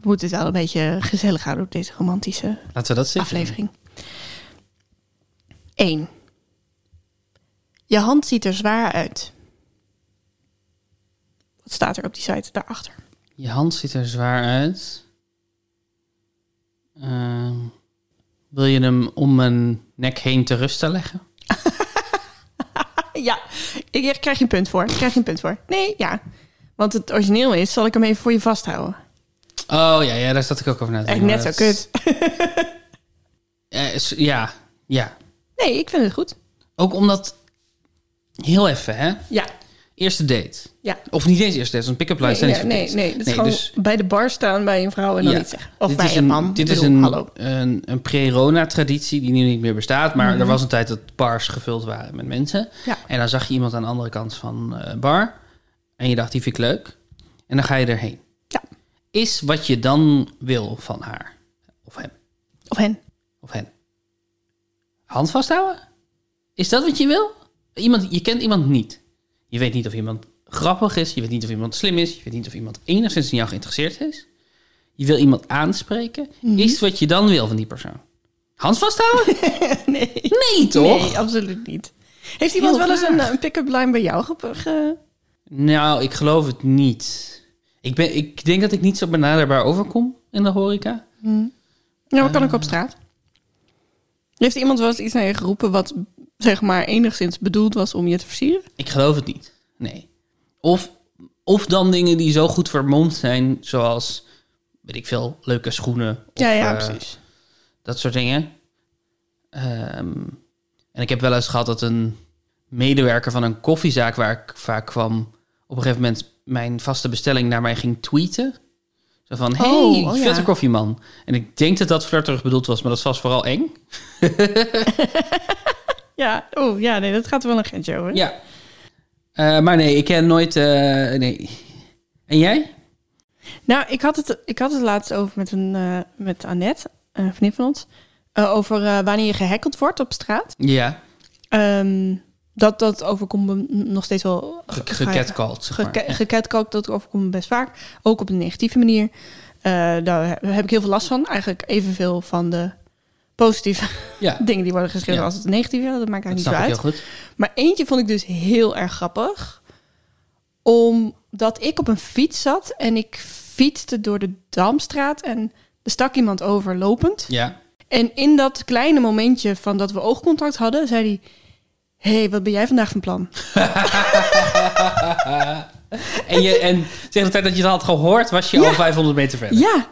We moeten het al een beetje gezellig houden op deze romantische Laten we dat zitten. aflevering. 1. Je hand ziet er zwaar uit. Wat staat er op die site daarachter? Je hand ziet er zwaar uit. Ehm, wil je hem om mijn nek heen te rusten leggen? Ja, ik ik krijg je een punt voor. Ik krijg je een punt voor. Nee, ja. Want het origineel is, zal ik hem even voor je vasthouden. Oh ja, ja daar zat ik ook over na te Echt denken, net zo maar dat is- kut. Eh, is- ja, ja. Nee, ik vind het goed. Ook omdat... Heel even, hè. Ja, Eerste date. ja. Of niet eens eerste date, want pick-up lines nee, zijn nee, niet nee, voor nee. kids. Dat is gewoon dus- bij de bar staan bij een vrouw en dan Ja. iets zeggen. Of dit bij is een, man. Dit Ik is bedoel, een, Hallo. een, een pre-Rona-traditie die nu niet meer bestaat. Maar Mhm. er was een tijd dat bars gevuld waren met mensen. Ja. En dan zag je iemand aan de andere kant van eh, bar. En je dacht, die vind ik leuk. En dan ga je erheen. Ja. Is wat je dan wil van haar. Of hem. Of hen. Of hen. Hand vasthouden? Is dat wat je wil? Iemand, je kent iemand niet. Je weet niet of iemand grappig is. Je weet niet of iemand slim is. Je weet niet of iemand enigszins in jou geïnteresseerd is. Je wil iemand aanspreken. Is wat je dan wil van die persoon? Hand vasthouden? Nee. Nee, toch? Nee, absoluut niet. Heeft iemand wel eens een, eh, een pick-up line bij jou ge... ge- Nou, ik geloof het niet. Ik, ben, ik denk dat ik niet zo benaderbaar overkom in de horeca. Ja, maar kan ook op Eh. straat. Heeft iemand wel eens iets naar je geroepen wat zeg maar enigszins bedoeld was om je te versieren? Ik geloof het niet. Nee. Of, of dan dingen die zo goed vermomd zijn, zoals, weet ik veel, leuke schoenen. Of, ja, ja, eh, precies. dat soort dingen. Ehm, en ik heb wel eens gehad dat een medewerker van een koffiezaak waar ik vaak kwam, op een gegeven moment mijn vaste bestelling naar mij ging tweeten. Zo van, hey, Oh, oh ja. vette koffieman. En ik denk dat dat flirterig bedoeld was, maar dat was vooral eng. Ja, oh ja, nee, dat gaat wel een grensje over. Ja. Eh, maar nee, ik ken nooit... eh, nee. En jij? Nou, ik had, het, ik had het laatst over met, een, eh, met Annette, een vriendin van ons, eh, over eh, wanneer je gehackeld wordt op straat. Ja. Ehm, dat, dat overkomt me nog steeds wel... Ge- ge- Gecatcalled, zeg maar. Geke- Gecatcalled, dat overkomt me best vaak. Ook op een negatieve manier. Eh, daar he- heb ik heel veel last van. Eigenlijk evenveel van de positieve Ja, dingen die worden geschreven Ja. als het negatieve. Dat maakt dat eigenlijk snap ik niet zo heel uit. goed. Maar eentje vond ik dus heel erg grappig. Omdat ik op een fiets zat en ik fietste door de Damstraat en er stak iemand over lopend. Ja. En in dat kleine momentje van dat we oogcontact hadden, zei hij... Hé, hey, wat ben jij vandaag van plan? En, je, en tegen de tijd dat je het had gehoord, was je Ja. al 500 meter verder. Ja.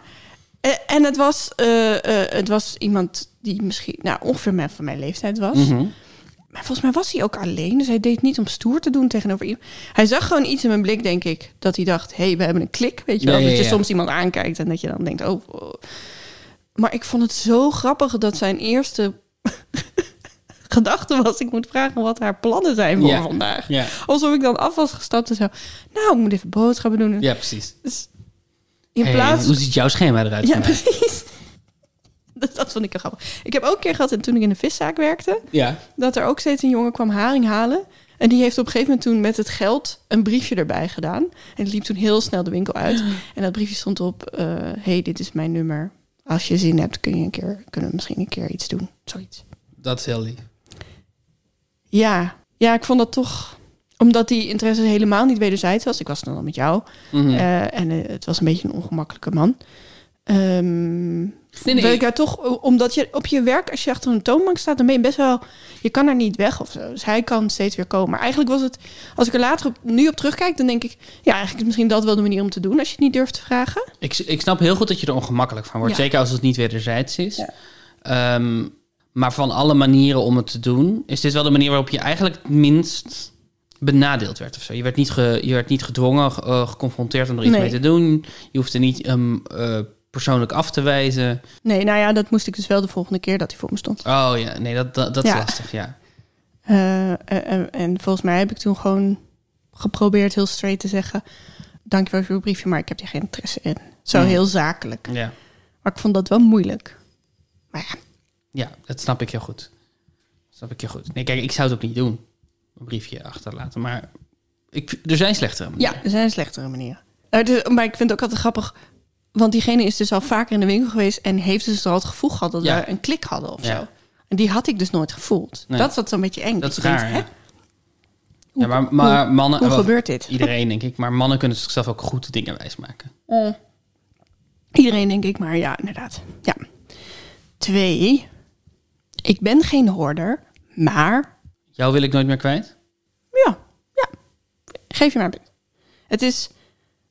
Eh, En het was, eh, eh, het was iemand die misschien nou, ongeveer mijn, van mijn leeftijd was. Mhm. Maar volgens mij was hij ook alleen. Dus hij deed niet om stoer te doen tegenover iemand. Hij zag gewoon iets in mijn blik, denk ik. Dat hij dacht, hé, hey, we hebben een klik. Weet je wel, Ja, ja, dat je ja. soms iemand aankijkt en dat je dan denkt, oh, oh. Maar ik vond het zo grappig dat zijn eerste gedachte was... ik moet vragen wat haar plannen zijn voor Ja. vandaag. Ja. Alsof ik dan af was gestapt en zo... nou, ik moet even boodschappen doen. ja, precies. Dus in Hey, plaats hoe ziet jouw schema eruit? ja, vandaag? precies. Dus dat vond ik heel grappig. Ik heb ook een keer gehad, en toen ik in de viszaak werkte, ja. dat er ook steeds een jongen kwam haring halen. En die heeft op een gegeven moment toen met het geld een briefje erbij gedaan. En die liep toen heel snel de winkel uit. En dat briefje stond op, eh, hey, dit is mijn nummer. Als je zin hebt, kun je een keer, kunnen we misschien een keer iets doen. Zoiets. dat is heel lief. Ja, ja ik vond dat toch omdat die interesse helemaal niet wederzijds was. Ik was dan al met jou. Mhm. eh, en eh, het was een beetje een ongemakkelijke man. Ehm nee, Wil nee. ik daar toch, omdat je op je werk, als je achter een toonbank staat, dan ben je best wel, je kan er niet weg of zo. Dus hij kan steeds weer komen. Maar eigenlijk was het, als ik er later op, nu op terugkijk, dan denk ik, ja, eigenlijk is misschien dat wel de manier om te doen als je het niet durft te vragen. Ik, ik snap heel goed dat je er ongemakkelijk van wordt. Ja. Zeker als het niet wederzijds is. Ja. Ehm, maar van alle manieren om het te doen, is dit wel de manier waarop je eigenlijk het minst benadeeld werd of zo. Je werd niet, ge- je werd niet gedwongen, ge- eh, geconfronteerd om er iets Nee. mee te doen. Je hoefde niet ehm, eh, persoonlijk af te wijzen. Nee, nou ja, dat moest ik dus wel de volgende keer dat hij voor me stond. Oh ja, nee, dat, dat, dat is Ja. lastig, ja. Eh, eh, en, en volgens mij heb ik toen gewoon geprobeerd heel straight te zeggen... dankjewel voor uw briefje, maar ik heb hier geen interesse in. Zo Mm. heel zakelijk. ja. Maar ik vond dat wel moeilijk. Maar ja, Ja, dat snap ik heel goed. Dat snap ik heel goed. Nee, kijk, ik zou het ook niet doen. Een briefje achterlaten. Maar ik, er zijn slechtere manieren. ja er zijn slechtere manieren. Eh, dus- maar ik vind het ook altijd grappig... want diegene is dus al vaker in de winkel geweest... en heeft dus er al het gevoel gehad dat Ja. we een klik hadden of Ja. zo. En die had ik dus nooit gevoeld. Nee. Dat is dat zo'n beetje eng. Dat is je denkt, raar, hè? ja. Ja, maar, maar mannen... Hoe wel, gebeurt dit? Iedereen, denk ik. Maar mannen kunnen zichzelf ook goed dingen wijsmaken. eh, Iedereen denk ik, maar ja, inderdaad. Ja. Twee, ik ben geen hoorder, maar Jou wil ik nooit meer kwijt? ja, ja, geef je maar een punt. Het is,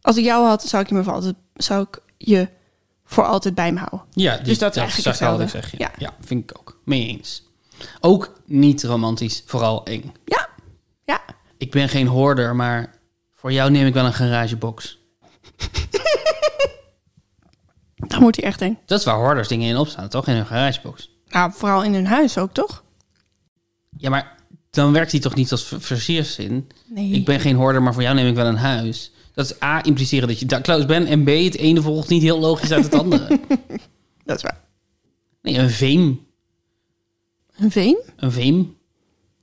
als ik jou had, zou ik je, me voor altijd, zou ik je voor altijd bij me houden. Ja, die- Dus dat is eigenlijk zou ik hetzelfde. altijd zeggen. Ja. Ja. ja, vind ik ook. Mee eens. Ook niet romantisch, vooral eng. Ja, ja. Ik ben geen hoorder, maar voor jou neem ik wel een garagebox. Dan wordt hij echt eng. Dat is waar hoorders dingen in opstaan, toch? In een garagebox. Nou, vooral in hun huis ook, toch? Ja, maar dan werkt hij toch niet als ver- versierszin? Nee. Ik ben geen hoorder, maar voor jou neem ik wel een huis. Dat is A, impliceren dat je daar close bent. En B, het ene volgt niet heel logisch uit het andere. Dat is waar. Nee, een veem. Een veen? Een veem.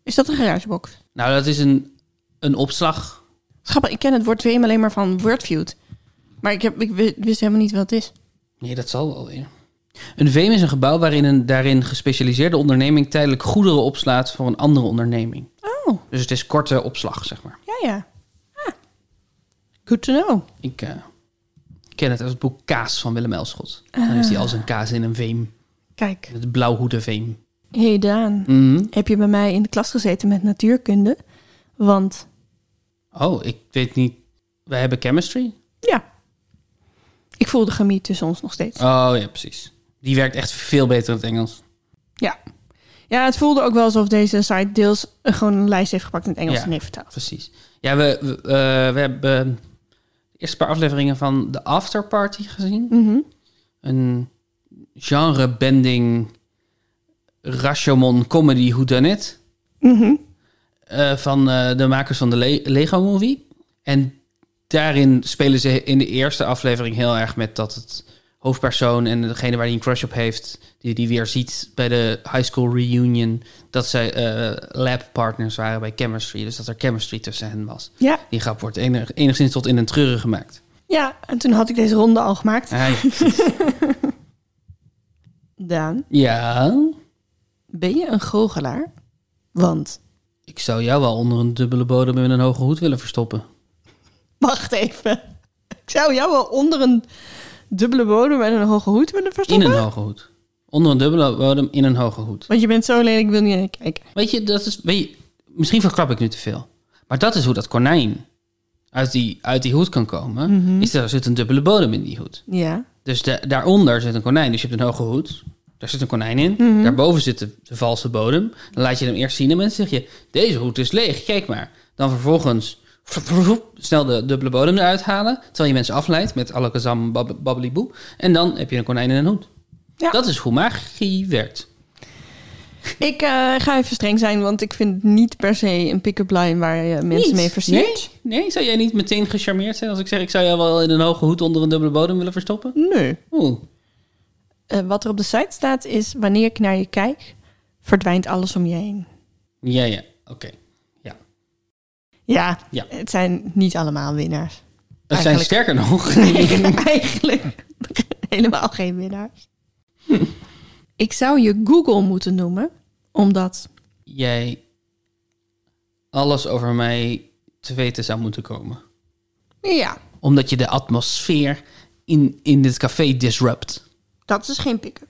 Is dat een garagebox? Nou, dat is een, een opslag. Grappig, ik ken het woord veem alleen maar van Wordfeud. Maar ik, heb, ik wi- wist helemaal niet wat het is. Nee, dat zal wel weer. Een veem is een gebouw waarin een daarin gespecialiseerde onderneming tijdelijk goederen opslaat voor een andere onderneming. Oh, Dus het is korte opslag, zeg maar. ja, ja. Ah. Good to know. Ik eh, ken het uit het boek Kaas van Willem Elschot. Dan heeft hij al zijn kaas in een veem. Kijk. Het blauwhoedenveem. Hey Daan, Mhm. heb je bij mij in de klas gezeten met natuurkunde? Want Oh, ik weet niet. Wij hebben chemistry? ja, ik voel de chemie tussen ons nog steeds. Oh ja, precies. Die werkt echt veel beter in het Engels. Ja. ja, het voelde ook wel alsof deze site deels eh, gewoon een lijst heeft gepakt in het Engels Ja. en heeft vertaald. Precies. Ja, we, we, eh, we hebben de eerste paar afleveringen van de After Party gezien. Mhm. Een genre-bending Rashomon comedy whodunit Mhm. eh van eh, de makers van de Le- Lego Movie. En daarin spelen ze in de eerste aflevering heel erg met dat het hoofdpersoon en degene waar hij een crush op heeft, die die weer ziet bij de high school reunion, dat zij eh labpartners waren bij chemistry. Dus dat er chemistry tussen hen was. Ja. Die grap wordt enig- enigszins tot in een treuren gemaakt. ja, en toen had ik deze ronde al gemaakt. Hij- Daan, ja, ben je een goochelaar? Want, ik zou jou wel onder een dubbele bodem met een hoge hoed willen verstoppen. wacht even. Ik zou jou wel onder een dubbele bodem en een hoge hoed willen In verstoppen. een hoge hoed. Onder een dubbele bodem in een hoge hoed. Want je bent zo lelijk, ik wil niet naar je kijken. Weet je, dat is, weet je, misschien verklap ik nu te veel. Maar dat is hoe dat konijn uit die, uit die hoed kan komen. Is er zit een dubbele bodem in die hoed. Ja. Dus de- daaronder zit een konijn. Dus je hebt een hoge hoed. Daar zit een konijn in. Mhm. Daarboven zit de, de valse bodem. Dan laat je hem eerst zien en mensen zeg je... Deze hoed is leeg, kijk maar. Dan vervolgens snel de dubbele bodem eruit halen. Terwijl je mensen afleidt met alakazam bab- babbeliboe. En dan heb je een konijn in een hoed. Ja. Dat is hoe magie werkt. Ik eh, ga even streng zijn, want ik vind niet per se een pick-up line waar je mensen Niet? mee versiert. Nee? nee, zou jij niet meteen gecharmeerd zijn als ik zeg... ik zou jou wel in een hoge hoed onder een dubbele bodem willen verstoppen? Nee. Oeh, Eh, wat er op de site staat is, wanneer ik naar je kijk, verdwijnt alles om je heen. ja, ja, oké. Ja, Ja. het zijn niet allemaal winnaars. Er zijn Eigenlijk- sterker nog... Eigenlijk helemaal geen winnaars. Ik zou je Google moeten noemen, omdat... jij alles over mij te weten zou moeten komen. Ja, Omdat je de atmosfeer in, in dit café disrupt. dat is geen pick-up.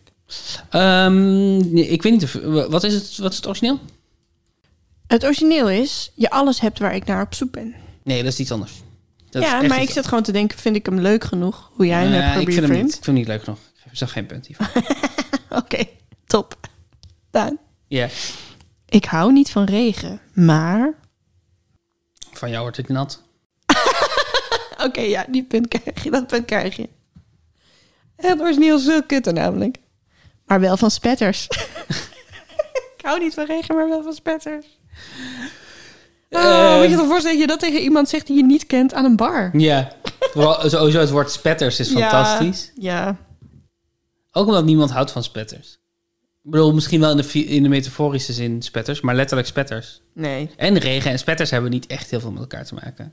Ehm, nee, ik weet niet of... Wat is het, wat is het origineel? Het origineel is, je alles hebt waar ik naar op zoek ben. Nee, dat is iets anders. Dat is ja, echt maar iets ik zit gewoon te denken, vind ik hem leuk genoeg? Hoe jij hem Eh, hebt ik vind hem niet, gebriefd? ik vind hem niet leuk genoeg. Ik zag geen punt hiervan. Oké. Top. Daan. Ja. Ik hou niet van regen, maar... Van jou word ik nat. Oké, ja, die punt krijg je, dat punt krijg je. Het origineel is heel kutter namelijk. Maar wel van spetters. ik hou niet van regen, maar wel van spetters. Oh, Eh. moet je je toch voorstellen dat je dat tegen iemand zegt die je niet kent aan een bar? Ja. Vooral- Sowieso het woord spetters is Ja. fantastisch. Ja. Ook omdat niemand houdt van spetters. Ik bedoel, misschien wel in de, fi- in de metaforische zin spetters, maar letterlijk spetters. Nee. En regen en spetters hebben niet echt heel veel met elkaar te maken.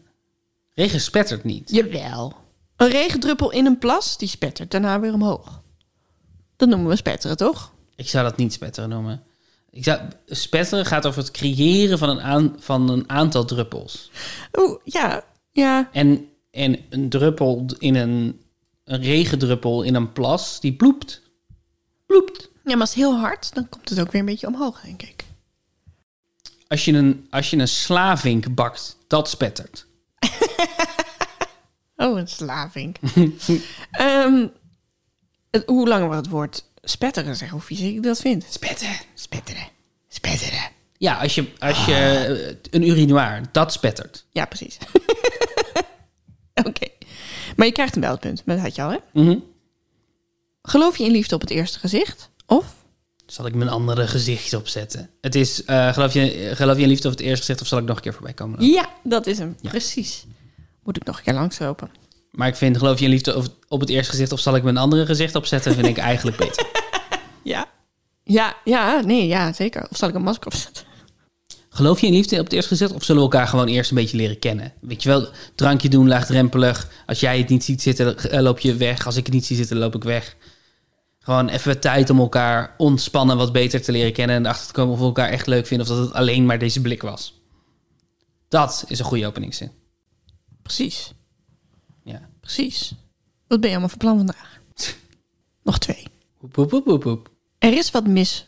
Regen spettert niet. Jawel. Een regendruppel in een plas, die spettert daarna weer omhoog. Dat noemen we spetteren, toch? Ik zou dat niet spetteren noemen. Ik zou, spetteren gaat over het creëren van een, aan, van een aantal druppels. Oeh, ja. Ja. En, en een druppel in een, een regendruppel in een plas, die ploept. Ploept. Ja, maar als het heel hard, dan komt het ook weer een beetje omhoog, denk ik. Als je een, als je een slavink bakt, dat spettert. Oh, een slavink. Ehm, het- hoe langer we het woord spetteren zeggen, hoe vies ik dat vind. Spetteren. Spetteren. Spetteren. Ja, als je, als je eh, een urinoir, dat spettert. Ja, precies. Oké. Maar je krijgt een belpunt, maar dat had je al, hè? Mhm. Geloof je in liefde op het eerste gezicht? Of? Zal ik mijn andere gezicht opzetten? Het is, eh, geloof, je, geloof je in liefde op het eerste gezicht of zal ik nog een keer voorbij komen? Ja, dat is hem. Precies. Moet ik nog een keer langslopen. Maar ik vind, geloof je in liefde op, op het eerste gezicht of zal ik mijn andere gezicht opzetten, vind ik eigenlijk beter. Ja. Ja, ja, nee, ja, zeker. Of zal ik een masker opzetten? Geloof je in liefde op het eerste gezicht of zullen we elkaar gewoon eerst een beetje leren kennen? Weet je wel, drankje doen, laagdrempelig. Als jij het niet ziet zitten, eh, loop je weg. Als ik het niet zie zitten, loop ik weg. Gewoon even tijd om elkaar ontspannen wat beter te leren kennen en erachter te komen of we elkaar echt leuk vinden of dat het alleen maar deze blik was. Dat is een goede openingszin. Precies. Ja. Precies. Wat ben je allemaal van plan vandaag? Nog twee. Hoep, hoep, hoep, hoep, hoep. Er is wat mis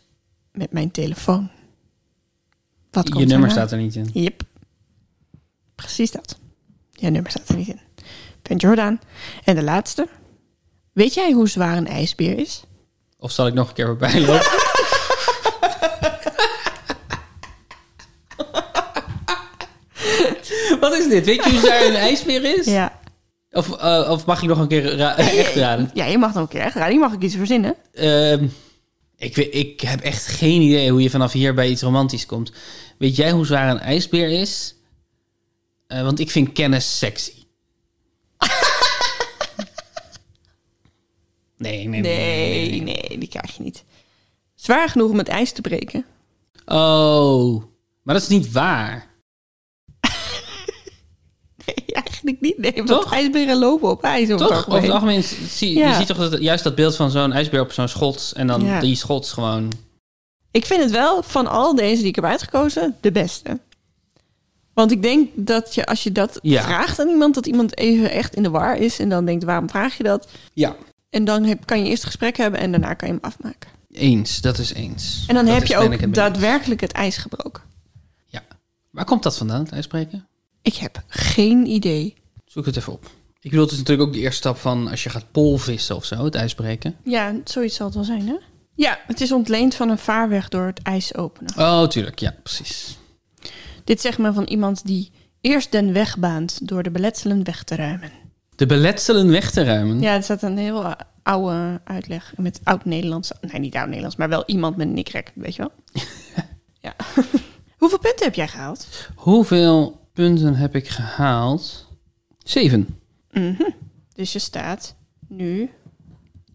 met mijn telefoon. Wat komt Je nummer daarna? staat er niet in. Yep. Precies dat. Je nummer staat er niet in. Punt Jordaan. En de laatste. Weet jij hoe zwaar een ijsbeer is? Of zal ik nog een keer voorbij lopen? Wat is dit? Weet je hoe daar een ijsbeer is? Ja. Of, eh, of mag ik nog een keer ra- echt raden? Ja, je mag dan ook echt raden. Je mag ik iets verzinnen. Ehm, ik, weet, ik heb echt geen idee hoe je vanaf hier bij iets romantisch komt. Weet jij hoe zwaar een ijsbeer is? Eh, want ik vind kennis sexy. nee, nee, nee, nee, nee. Nee, nee, die krijg je niet. Zwaar genoeg om het ijs te breken. Oh, maar dat is niet waar. Nee, eigenlijk niet. Nee, want Toch? ijsberen lopen op ijs. Toch? Over Over het algemeen. algemeen zie je Ja. ziet toch dat, juist dat beeld van zo'n ijsbeer op zo'n schots. En dan Ja. die schots gewoon. Ik vind het wel van al deze die ik heb uitgekozen de beste. Want ik denk dat je als je dat Ja. vraagt aan iemand, dat iemand even echt in de war is en dan denkt waarom vraag je dat? Ja. En dan heb, kan je eerst het gesprek hebben en daarna kan je hem afmaken. Eens, dat is eens. En dan Dat heb is- je ben ik het ook mee eens. daadwerkelijk het ijs gebroken. Ja. Waar komt dat vandaan, het ijsbreken? Ik heb geen idee. Zoek het even op. Ik bedoel, het is natuurlijk ook de eerste stap van als je gaat polvissen of zo, het ijsbreken. Ja, zoiets zal het wel zijn, hè? Ja, het is ontleend van een vaarweg door het ijs openen. Oh, tuurlijk. Ja, precies. Dit zegt men van iemand die eerst den weg baant door de beletselen weg te ruimen. De beletselen weg te ruimen. Ja, er staat een heel eh, oude uitleg met oud-Nederlands. Nee, niet oud-Nederlands, maar wel iemand met een nikrek, weet je wel? ja. Hoeveel punten heb jij gehaald? Hoeveel punten heb ik gehaald? Zeven. Dus je staat nu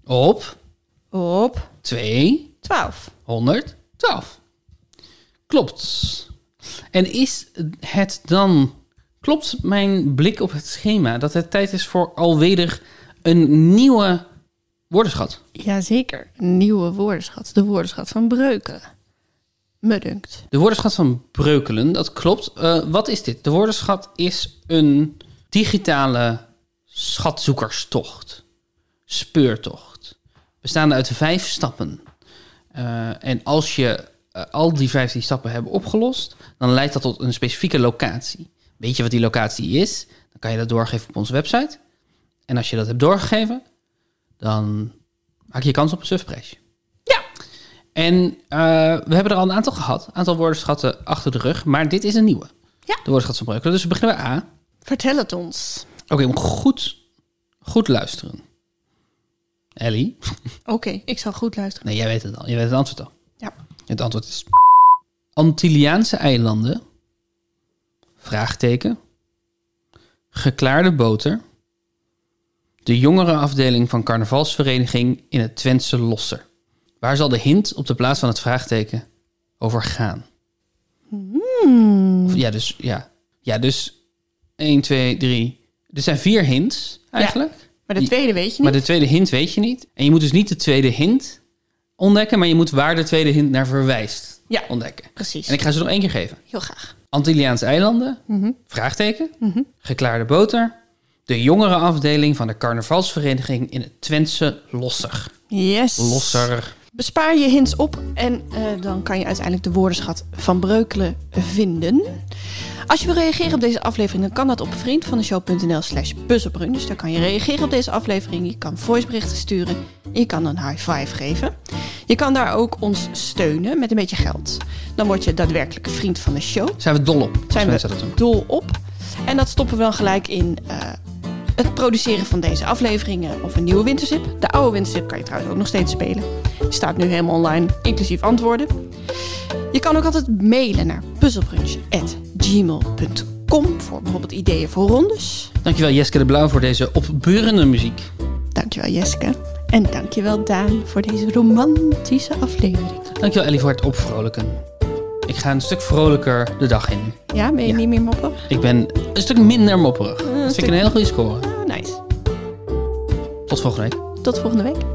Op op 2 12. 112. Klopt. En is het dan. Klopt mijn blik op het schema dat het tijd is voor alweder een nieuwe woordenschat? Jazeker. Een nieuwe woordenschat. De woordenschat van Breuken. Me dunkt. De woordenschat van Breukelen, dat klopt. Eh, wat is dit? De woordenschat is een digitale schatzoekerstocht, speurtocht, bestaande uit vijf stappen. Eh, en als je eh, al die vijftien stappen hebt opgelost, dan leidt dat tot een specifieke locatie. Weet je wat die locatie is? Dan kan je dat doorgeven op onze website. En als je dat hebt doorgegeven, dan maak je kans op een surfprijsje. Ja. En eh, we hebben er al een aantal gehad. Een aantal woordenschatten achter de rug. Maar dit is een nieuwe. Ja. De woordenschat van Breukelen. Dus beginnen we A. Vertel het ons. Oké, moet goed, goed luisteren. Ellie? Oké, ik zal goed luisteren. Nee, jij weet het al. Je weet het antwoord al. Ja. Het antwoord is... Antilliaanse eilanden. Vraagteken. Geklaarde boter. De jongerenafdeling van carnavalsvereniging in het Twentse Losser. Waar zal de hint op de plaats van het vraagteken over gaan? Of, ja, dus... Ja. ja, dus... 1, 2, 3... Er zijn vier hints eigenlijk. Maar de Die- tweede weet je Maar niet. de tweede hint weet je niet. En je moet dus niet de tweede hint ontdekken, maar je moet waar de tweede hint naar verwijst Ja. ontdekken. Precies. En ik ga ze nog één keer geven. Heel graag. Antilliaanse eilanden, Mhm. vraagteken, geklaarde boter, de jongerenafdeling van de carnavalsvereniging in het Twentse Losser. Yes. Losser. Bespaar je hints op en eh, dan kan je uiteindelijk de woordenschat van Breukelen vinden. Als je wil reageren op deze aflevering, dan kan dat op vriendvandeshow.nl slash buzzelbrun. Dus daar kan je reageren op deze aflevering. Je kan voiceberichten sturen. en Je kan een high five geven. Je kan daar ook ons steunen met een beetje geld. Dan word je daadwerkelijk vriend van de show. Zijn we dol op? als Zijn mensen we dat doen. dol op. En dat stoppen we dan gelijk in eh, het produceren van deze afleveringen of een nieuwe wintersip. De oude wintersip kan je trouwens ook nog steeds spelen. Die staat nu helemaal online, inclusief antwoorden. Je kan ook altijd mailen naar puzzelbrunch.gmail.com voor bijvoorbeeld ideeën voor rondes. Dankjewel Jeske de Blauw voor deze opbeurende muziek. Dankjewel Jeske. En dankjewel Daan voor deze romantische aflevering. Dankjewel Ellie voor het opvrolijken. Ik ga een stuk vrolijker de dag in. Ja, ben je Ja. niet meer moppen? Ik ben een stuk minder mopperig. Dat vind ik stuk- een hele goede score. Ah, nice. Tot volgende week. Tot volgende week.